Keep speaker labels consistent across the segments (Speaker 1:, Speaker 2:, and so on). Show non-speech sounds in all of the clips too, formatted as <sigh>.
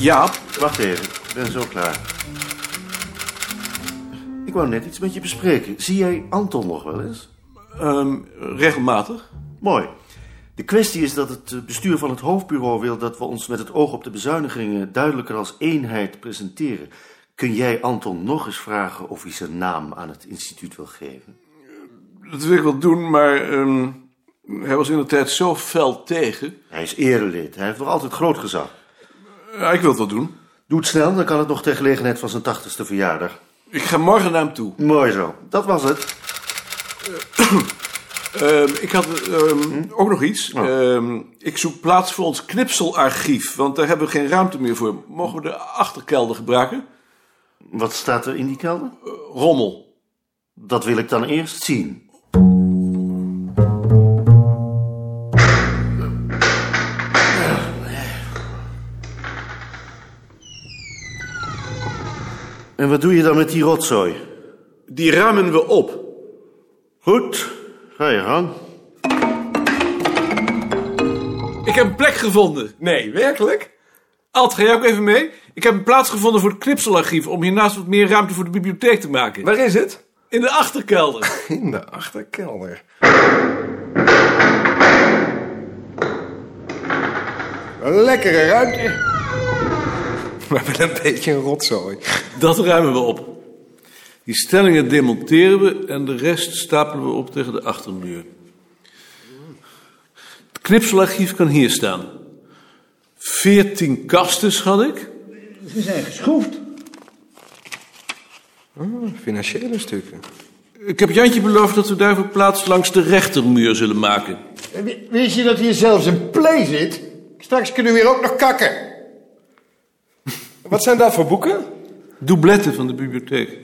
Speaker 1: Jaap, wacht even. Ik ben zo klaar. Ik wou net iets met je bespreken. Zie jij Anton nog wel eens?
Speaker 2: Ehm, regelmatig.
Speaker 1: Mooi. De kwestie is dat het eh, bestuur van het hoofdbureau wil dat we ons met het oog op de bezuinigingen duidelijker als eenheid presenteren. Kun jij Anton nog eens vragen of hij zijn naam aan het instituut wil geven?
Speaker 2: Dat wil ik wel doen, maar ehm, hij was in de tijd zo fel tegen.
Speaker 1: Hij is erelid. Hij heeft nog altijd groot gezag.
Speaker 2: Ja, ik wil het wel doen.
Speaker 1: Doe het snel, dan kan het nog ter gelegenheid van zijn tachtigste verjaardag.
Speaker 2: Ik ga morgen naar hem toe.
Speaker 1: Mooi zo. Dat was het.
Speaker 2: Ehm, ik had ehm, ook nog iets. Ehm, ik zoek plaats voor ons knipselarchief, want daar hebben we geen ruimte meer voor. Mogen we de achterkelder gebruiken?
Speaker 1: Wat staat er in die kelder?
Speaker 2: Rommel.
Speaker 1: Dat wil ik dan eerst zien. En wat doe je dan met die rotzooi?
Speaker 2: Die ruimen we op.
Speaker 1: Goed, ga je gang.
Speaker 2: Ik heb een plek gevonden. Nee, werkelijk? Alt, ga jij ook even mee? Ik heb een plaats gevonden voor het knipselarchief... om hiernaast wat meer ruimte voor de bibliotheek te maken.
Speaker 3: Waar is het?
Speaker 2: In de achterkelder.
Speaker 3: In de achterkelder. Een lekkere ruimte. <laughs> Maar met een beetje een rotzooi.
Speaker 2: Dat ruimen we op. Die stellingen demonteren we en de rest stapelen we op tegen de achtermuur. Het knipselarchief kan hier staan. Veertien kastens had ik.
Speaker 4: Ze zijn geschroefd.
Speaker 3: Oh, financiële stukken.
Speaker 2: Ik heb Jantje beloofd dat we daarvoor plaats langs de rechtermuur zullen maken.
Speaker 4: Wist je dat hier zelfs een play zit?
Speaker 3: Straks kunnen we hier ook nog kakken. Wat zijn daar voor boeken?
Speaker 2: Doubletten van de bibliotheek.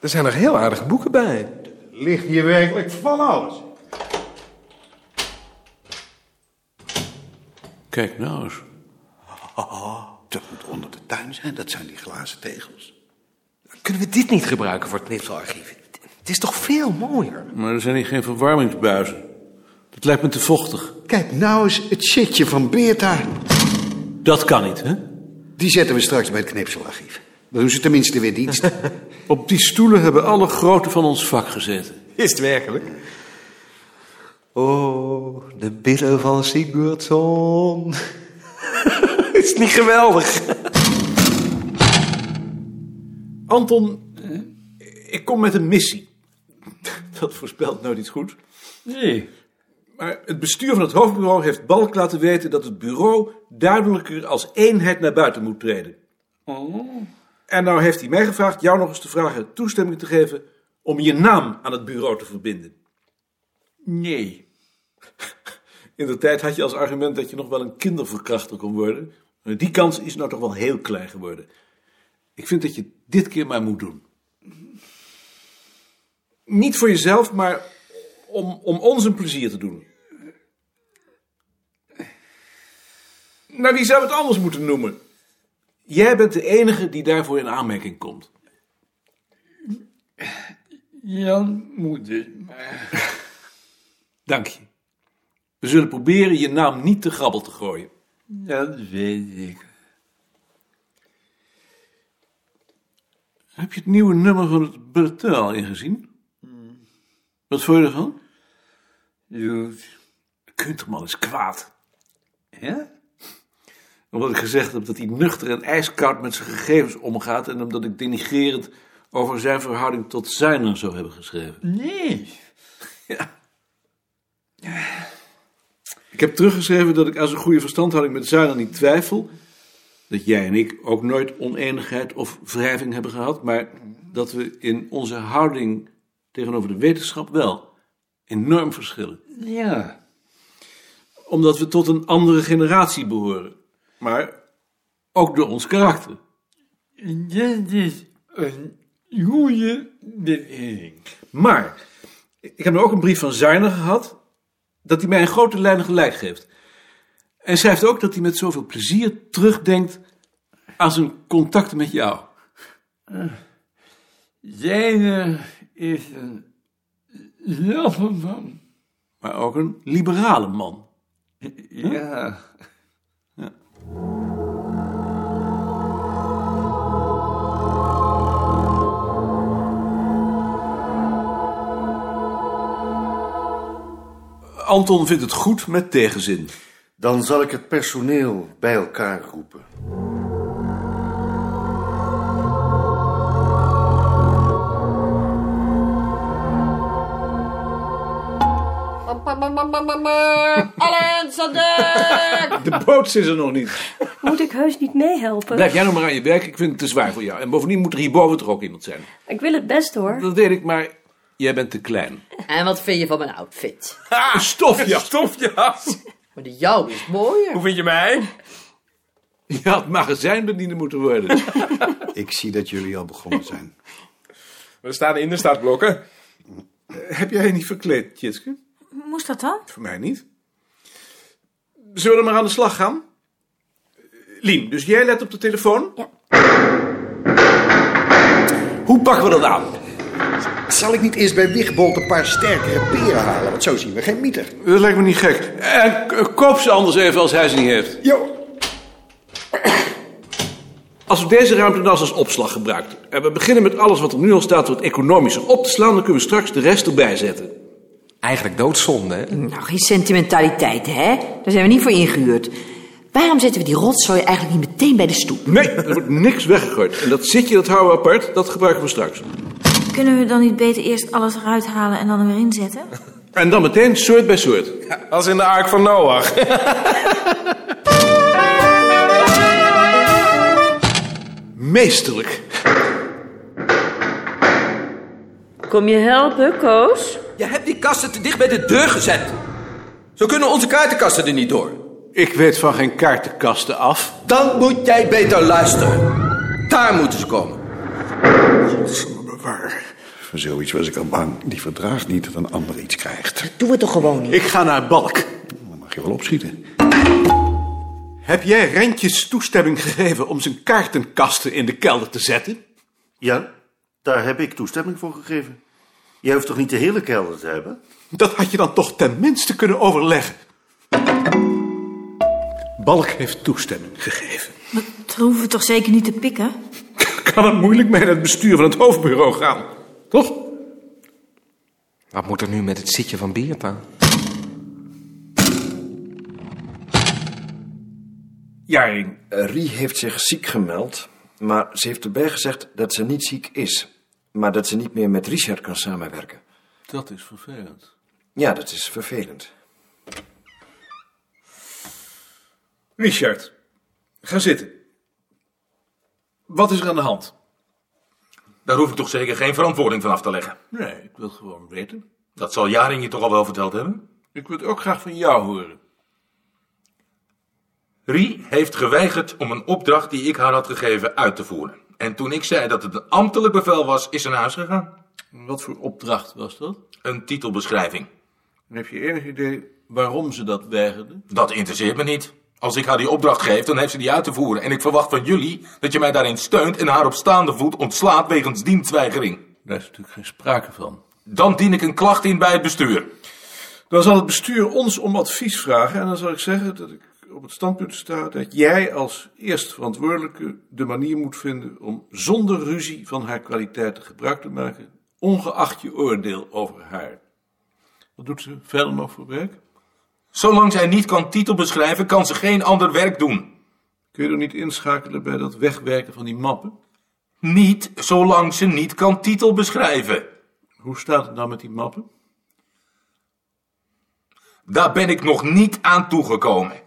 Speaker 3: Er zijn nog heel aardige boeken bij.
Speaker 4: Ligt hier werkelijk van alles.
Speaker 2: Kijk nou eens.
Speaker 5: Dat moet onder de tuin zijn, dat zijn die glazen tegels.
Speaker 3: Kunnen we dit niet gebruiken voor het knipselarchief? Het is toch veel mooier?
Speaker 2: Maar er zijn hier geen verwarmingsbuizen. Dat lijkt me te vochtig.
Speaker 5: Kijk nou eens het shitje van Beerta.
Speaker 2: Dat kan niet, hè?
Speaker 5: Die zetten we straks bij het knipselarchief. Dan doen ze tenminste weer dienst.
Speaker 2: Op die stoelen hebben alle groten van ons vak gezeten.
Speaker 3: Is het werkelijk? Oh, de billen van Sigurdsson. <laughs> is het niet geweldig?
Speaker 2: Anton, ik kom met een missie. Dat voorspelt nou niet goed.
Speaker 6: Nee.
Speaker 2: Maar het bestuur van het hoofdbureau heeft Balk laten weten dat het bureau duidelijker als eenheid naar buiten moet treden. En nou heeft hij mij gevraagd jou nog eens te vragen toestemming te geven om je naam aan het bureau te verbinden.
Speaker 6: Nee.
Speaker 2: <laughs> In de tijd had je als argument dat je nog wel een kinderverkrachter kon worden. Maar Die kans is nou toch wel heel klein geworden. Ik vind dat je het dit keer maar moet doen. Niet voor jezelf, maar om, om ons een plezier te doen. Nou, wie zou het anders moeten noemen? Jij bent de enige die daarvoor in aanmerking komt.
Speaker 6: Jan moet het maar.
Speaker 2: <laughs> Dank je. We zullen proberen je naam niet te grabbel te gooien.
Speaker 6: Dat weet ik.
Speaker 2: Heb je het nieuwe nummer van het bulletin al ingezien?
Speaker 6: Hmm.
Speaker 2: Wat vond je ervan?
Speaker 6: Doet.
Speaker 2: Je kunt hem al eens kwaad.
Speaker 6: Ja?
Speaker 2: Omdat ik gezegd heb dat hij nuchter en ijskoud met zijn gegevens omgaat... en omdat ik denigrerend over zijn verhouding tot zijner zou hebben geschreven.
Speaker 6: Nee.
Speaker 2: Ik heb teruggeschreven dat ik aan zijn goede verstandhouding met zijner niet twijfel... dat jij en ik ook nooit oneenigheid of wrijving hebben gehad... maar dat we in onze houding tegenover de wetenschap wel enorm verschillen.
Speaker 6: Ja.
Speaker 2: Omdat we tot een andere generatie behoren. Maar ook door ons karakter.
Speaker 6: Dit is een goede bewering.
Speaker 2: Maar, ik heb nu ook een brief van Zuiner gehad... dat hij mij in grote lijnen gelijk geeft. En schrijft ook dat hij met zoveel plezier terugdenkt... aan zijn contacten met jou.
Speaker 6: Zijner Eh, is een laffe man.
Speaker 2: Maar ook een liberale man.
Speaker 6: Ja.
Speaker 2: Anton vindt het goed met tegenzin.
Speaker 1: Dan zal ik het personeel bij elkaar roepen.
Speaker 7: Allen aan dek!
Speaker 2: De boot is er nog niet.
Speaker 8: Moet ik heus niet meehelpen?
Speaker 2: Blijf jij nou maar aan je werk, ik vind het te zwaar voor jou. En bovendien moet er hierboven toch ook iemand zijn.
Speaker 8: Ik wil het best hoor.
Speaker 2: Dat weet ik, maar jij bent te klein.
Speaker 7: En wat vind je van mijn outfit?
Speaker 2: Ah, stofjas.
Speaker 9: Stofjas.
Speaker 7: Maar de jouw is mooier.
Speaker 9: Hoe vind je mij?
Speaker 2: Je had magazijnbediende moeten worden.
Speaker 5: <laughs> Ik zie dat jullie al begonnen zijn.
Speaker 9: <laughs> We staan in de startblokken.
Speaker 2: Heb jij je niet verkleed, Tjitske?
Speaker 10: Moest dat dan?
Speaker 2: Voor mij niet. Zullen we maar aan de slag gaan? Lien, dus jij let op de telefoon?
Speaker 8: Ja.
Speaker 2: Hoe pakken we dat aan?
Speaker 5: Zal ik niet eerst bij Wigbold een paar sterkere peren halen? Want zo zien we geen mieter.
Speaker 2: Dat lijkt me niet gek. En Eh, k- koop ze anders even als hij ze niet heeft.
Speaker 5: Jo,
Speaker 2: Als we deze ruimte nou als opslag gebruiken... en we beginnen met alles wat er nu al staat wat economischer op te slaan... dan kunnen we straks de rest erbij zetten.
Speaker 3: Eigenlijk doodzonde, hè?
Speaker 7: Nou, geen sentimentaliteit, hè? Daar zijn we niet voor ingehuurd. Waarom zetten we die rotzooi eigenlijk niet meteen bij de stoep?
Speaker 2: Nee, er wordt niks weggegooid. En dat zitje, dat houden we apart, dat gebruiken we straks.
Speaker 10: Kunnen we dan niet beter eerst alles eruit halen en dan er weer inzetten?
Speaker 2: En dan meteen soort bij soort.
Speaker 9: Als in de Ark van Noach.
Speaker 2: Meesterlijk.
Speaker 7: Kom je helpen, Koos?
Speaker 9: Je hebt die kasten te dicht bij de deur gezet. Zo <laughs> kunnen onze kaartenkasten er niet door.
Speaker 2: Ik weet van geen kaartenkasten af.
Speaker 9: Dan moet jij beter luisteren. Daar moeten ze komen.
Speaker 5: bewaar. Voor zoiets was ik al bang. Die verdraagt niet dat een ander iets krijgt.
Speaker 7: Doe het toch gewoon niet.
Speaker 2: Ik ga naar Balk.
Speaker 5: Dan mag je wel opschieten.
Speaker 2: Heb jij Rentjes toestemming gegeven om zijn kaartenkasten in de kelder te zetten?
Speaker 1: Ja, daar heb ik toestemming voor gegeven. Jij hoeft toch niet de hele kelder te hebben?
Speaker 2: Dat had je dan toch tenminste kunnen overleggen. Balk heeft toestemming gegeven.
Speaker 10: Dat hoeven we toch zeker niet te pikken?
Speaker 2: Kan het moeilijk mee naar het bestuur van het hoofdbureau gaan? Toch?
Speaker 3: Wat moet er nu met het zitje van Beerta?
Speaker 2: Jaring.
Speaker 11: Eh, Rie heeft zich ziek gemeld, maar ze heeft erbij gezegd dat ze niet ziek is. Maar dat ze niet meer met Richard kan samenwerken.
Speaker 2: Dat is vervelend.
Speaker 11: Ja, dat is vervelend.
Speaker 2: Richard, ga zitten. Wat is er aan de hand?
Speaker 9: Daar hoef ik toch zeker geen verantwoording van af te leggen.
Speaker 2: Nee, ik wil het gewoon weten.
Speaker 9: Dat zal Jaring je toch al wel verteld hebben?
Speaker 2: Ik wil het ook graag van jou horen.
Speaker 9: Rie heeft geweigerd om een opdracht die ik haar had gegeven uit te voeren. En toen ik zei dat het een ambtelijk bevel was, is ze naar huis gegaan.
Speaker 2: Wat voor opdracht was dat?
Speaker 9: Een titelbeschrijving.
Speaker 2: En heb je enig idee waarom ze dat weigerden?
Speaker 9: Dat interesseert me niet. Als ik haar die opdracht geef, dan heeft ze die uit te voeren. En ik verwacht van jullie dat je mij daarin steunt en haar op staande voet ontslaat wegens dienstweigering.
Speaker 2: Daar is natuurlijk geen sprake van.
Speaker 9: Dan dien ik een klacht in bij het bestuur.
Speaker 2: Dan zal het bestuur ons om advies vragen en dan zal ik zeggen dat ik op het standpunt sta dat jij als eerst verantwoordelijke de manier moet vinden om zonder ruzie van haar kwaliteiten gebruik te maken, ongeacht je oordeel over haar. Wat doet ze verder nog voor werk?
Speaker 9: Zolang zij niet kan titel beschrijven, kan ze geen ander werk doen.
Speaker 2: Kun je er niet inschakelen bij dat wegwerken van die mappen?
Speaker 9: Niet zolang ze niet kan titel beschrijven.
Speaker 2: Hoe staat het nou met die mappen?
Speaker 9: Daar ben ik nog niet aan toegekomen.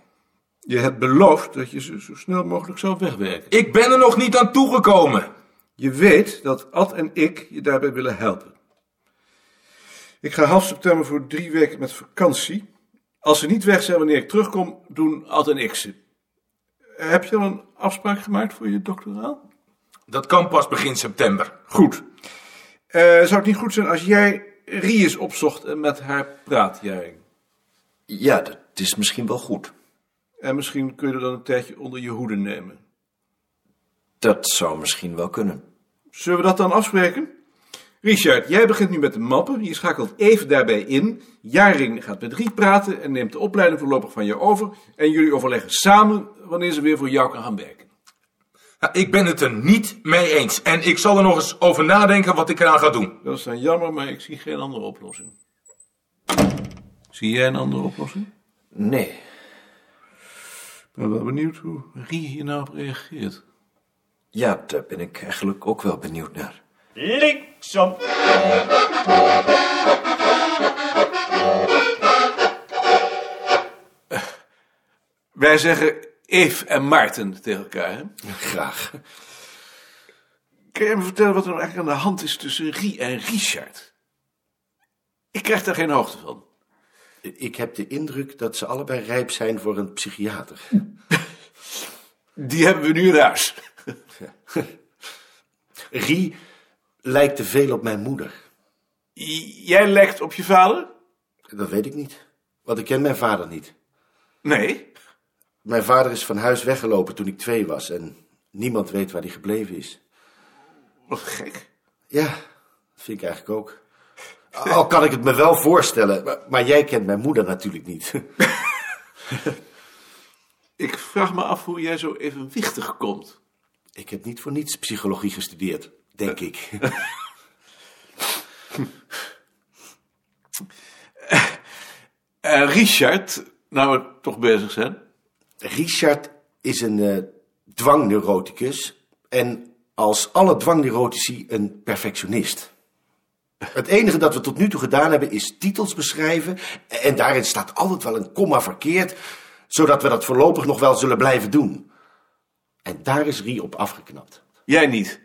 Speaker 2: Je hebt beloofd dat je ze zo snel mogelijk zou wegwerken.
Speaker 9: Ik ben er nog niet aan toegekomen.
Speaker 2: Je weet dat Ad en ik je daarbij willen helpen. Ik ga half september voor drie weken met vakantie. Als ze niet weg zijn wanneer ik terugkom, doen Ad en ik ze. Heb je al een afspraak gemaakt voor je doctoraal?
Speaker 9: Dat kan pas begin september.
Speaker 2: Goed. Eh, zou het niet goed zijn als jij Ries opzocht en met haar praat, Jaring?
Speaker 11: Ja, dat is misschien wel goed.
Speaker 2: En misschien kun je er dan een tijdje onder je hoede nemen.
Speaker 11: Dat zou misschien wel kunnen.
Speaker 2: Zullen we dat dan afspreken? Richard, jij begint nu met de mappen. Je schakelt even daarbij in. Jaring gaat met Riet praten en neemt de opleiding voorlopig van je over. En jullie overleggen samen wanneer ze weer voor jou kan gaan werken.
Speaker 9: Ja, Ik ben het er niet mee eens. En ik zal er nog eens over nadenken wat ik eraan ga doen.
Speaker 2: Dat is dan jammer, maar ik zie geen andere oplossing. Zie jij een andere oplossing?
Speaker 11: Nee.
Speaker 2: Ik ben wel benieuwd hoe Rie hier nou op reageert.
Speaker 11: Ja, daar ben ik eigenlijk ook wel benieuwd naar.
Speaker 12: Linksom.
Speaker 2: Wij zeggen Eve en Maarten tegen elkaar, hè?
Speaker 11: Graag.
Speaker 2: Kun je me vertellen wat er nou eigenlijk aan de hand is tussen Rie en Richard? Ik krijg daar geen hoogte van.
Speaker 1: Ik heb de indruk dat ze allebei rijp zijn voor een psychiater.
Speaker 2: Die hebben we nu in huis.
Speaker 1: Rie lijkt te veel op mijn moeder.
Speaker 2: Jij lijkt op je vader?
Speaker 1: Dat weet ik niet, want ik ken mijn vader niet.
Speaker 2: Nee.
Speaker 1: Mijn vader is van huis weggelopen toen ik twee was en niemand weet waar hij gebleven is.
Speaker 2: Wat gek.
Speaker 1: Ja, dat vind ik eigenlijk ook. Al kan ik het me wel voorstellen, maar, maar jij kent mijn moeder natuurlijk niet. <laughs>
Speaker 2: Ik vraag me af hoe jij zo evenwichtig komt.
Speaker 1: Ik heb niet voor niets psychologie gestudeerd, denk ik. <laughs>
Speaker 2: En Eh, Richard, nou we toch bezig zijn.
Speaker 1: Richard is een eh, dwangneuroticus en als alle dwangneurotici een perfectionist. Het enige dat we tot nu toe gedaan hebben is titels beschrijven en daarin staat altijd wel een komma verkeerd, zodat we dat voorlopig nog wel zullen blijven doen. En daar is Rie op afgeknapt.
Speaker 2: Jij niet.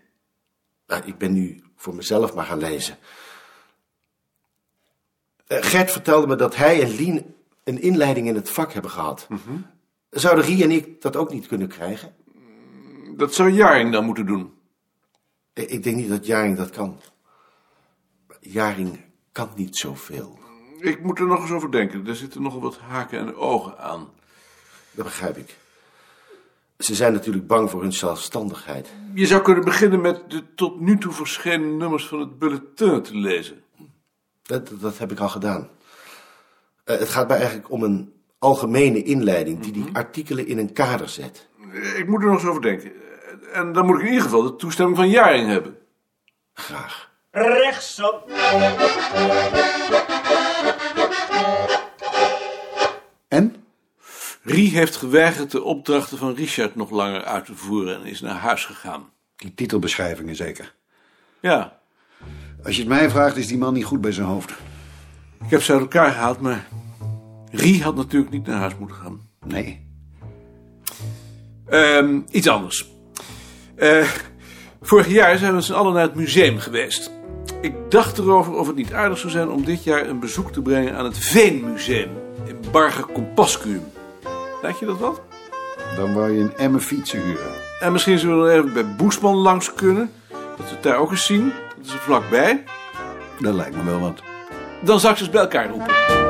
Speaker 1: Nou, ik ben nu voor mezelf maar gaan lezen. Eh, Gert vertelde me dat hij en Lien een inleiding in het vak hebben gehad. Zouden Rie en ik dat ook niet kunnen krijgen?
Speaker 2: Dat zou Jaring dan moeten doen.
Speaker 1: Eh, Ik denk niet dat Jaring dat kan. Jaring kan niet zoveel.
Speaker 2: Ik moet er nog eens over denken. Er zitten nogal wat haken en ogen aan.
Speaker 1: Dat begrijp ik. Ze zijn natuurlijk bang voor hun zelfstandigheid.
Speaker 2: Je zou kunnen beginnen met de tot nu toe verschenen nummers van het bulletin te lezen.
Speaker 1: Dat, dat- dat heb ik al gedaan. Eh, het gaat mij eigenlijk om een algemene inleiding die die artikelen in een kader zet.
Speaker 2: Ik moet er nog eens over denken. En dan moet ik in ieder geval de toestemming van Jaring hebben.
Speaker 1: Graag.
Speaker 12: Rechtsom.
Speaker 4: En?
Speaker 2: Rie heeft geweigerd de opdrachten van Richard nog langer uit te voeren en is naar huis gegaan.
Speaker 4: Die titelbeschrijvingen zeker.
Speaker 2: Ja,
Speaker 4: Als je het mij vraagt, is die man niet goed bij zijn hoofd.
Speaker 2: ik heb ze uit elkaar gehaald, maar Rie had natuurlijk niet naar huis moeten gaan.
Speaker 4: Nee.
Speaker 2: Ehm, iets anders. Eh, vorig jaar zijn we met z'n allen naar het museum geweest. Ik dacht erover of het niet aardig zou zijn om dit jaar een bezoek te brengen aan het Veenmuseum in Barge Compascuum. Lijkt je dat wat?
Speaker 4: Dan wou je een emmer fietsen huren.
Speaker 2: En misschien zullen we nog even bij Boesman langs kunnen. Dat we het daar ook eens zien. Dat is er vlakbij.
Speaker 4: Dat lijkt me wel wat.
Speaker 2: Dan zal ik ze eens bij elkaar roepen.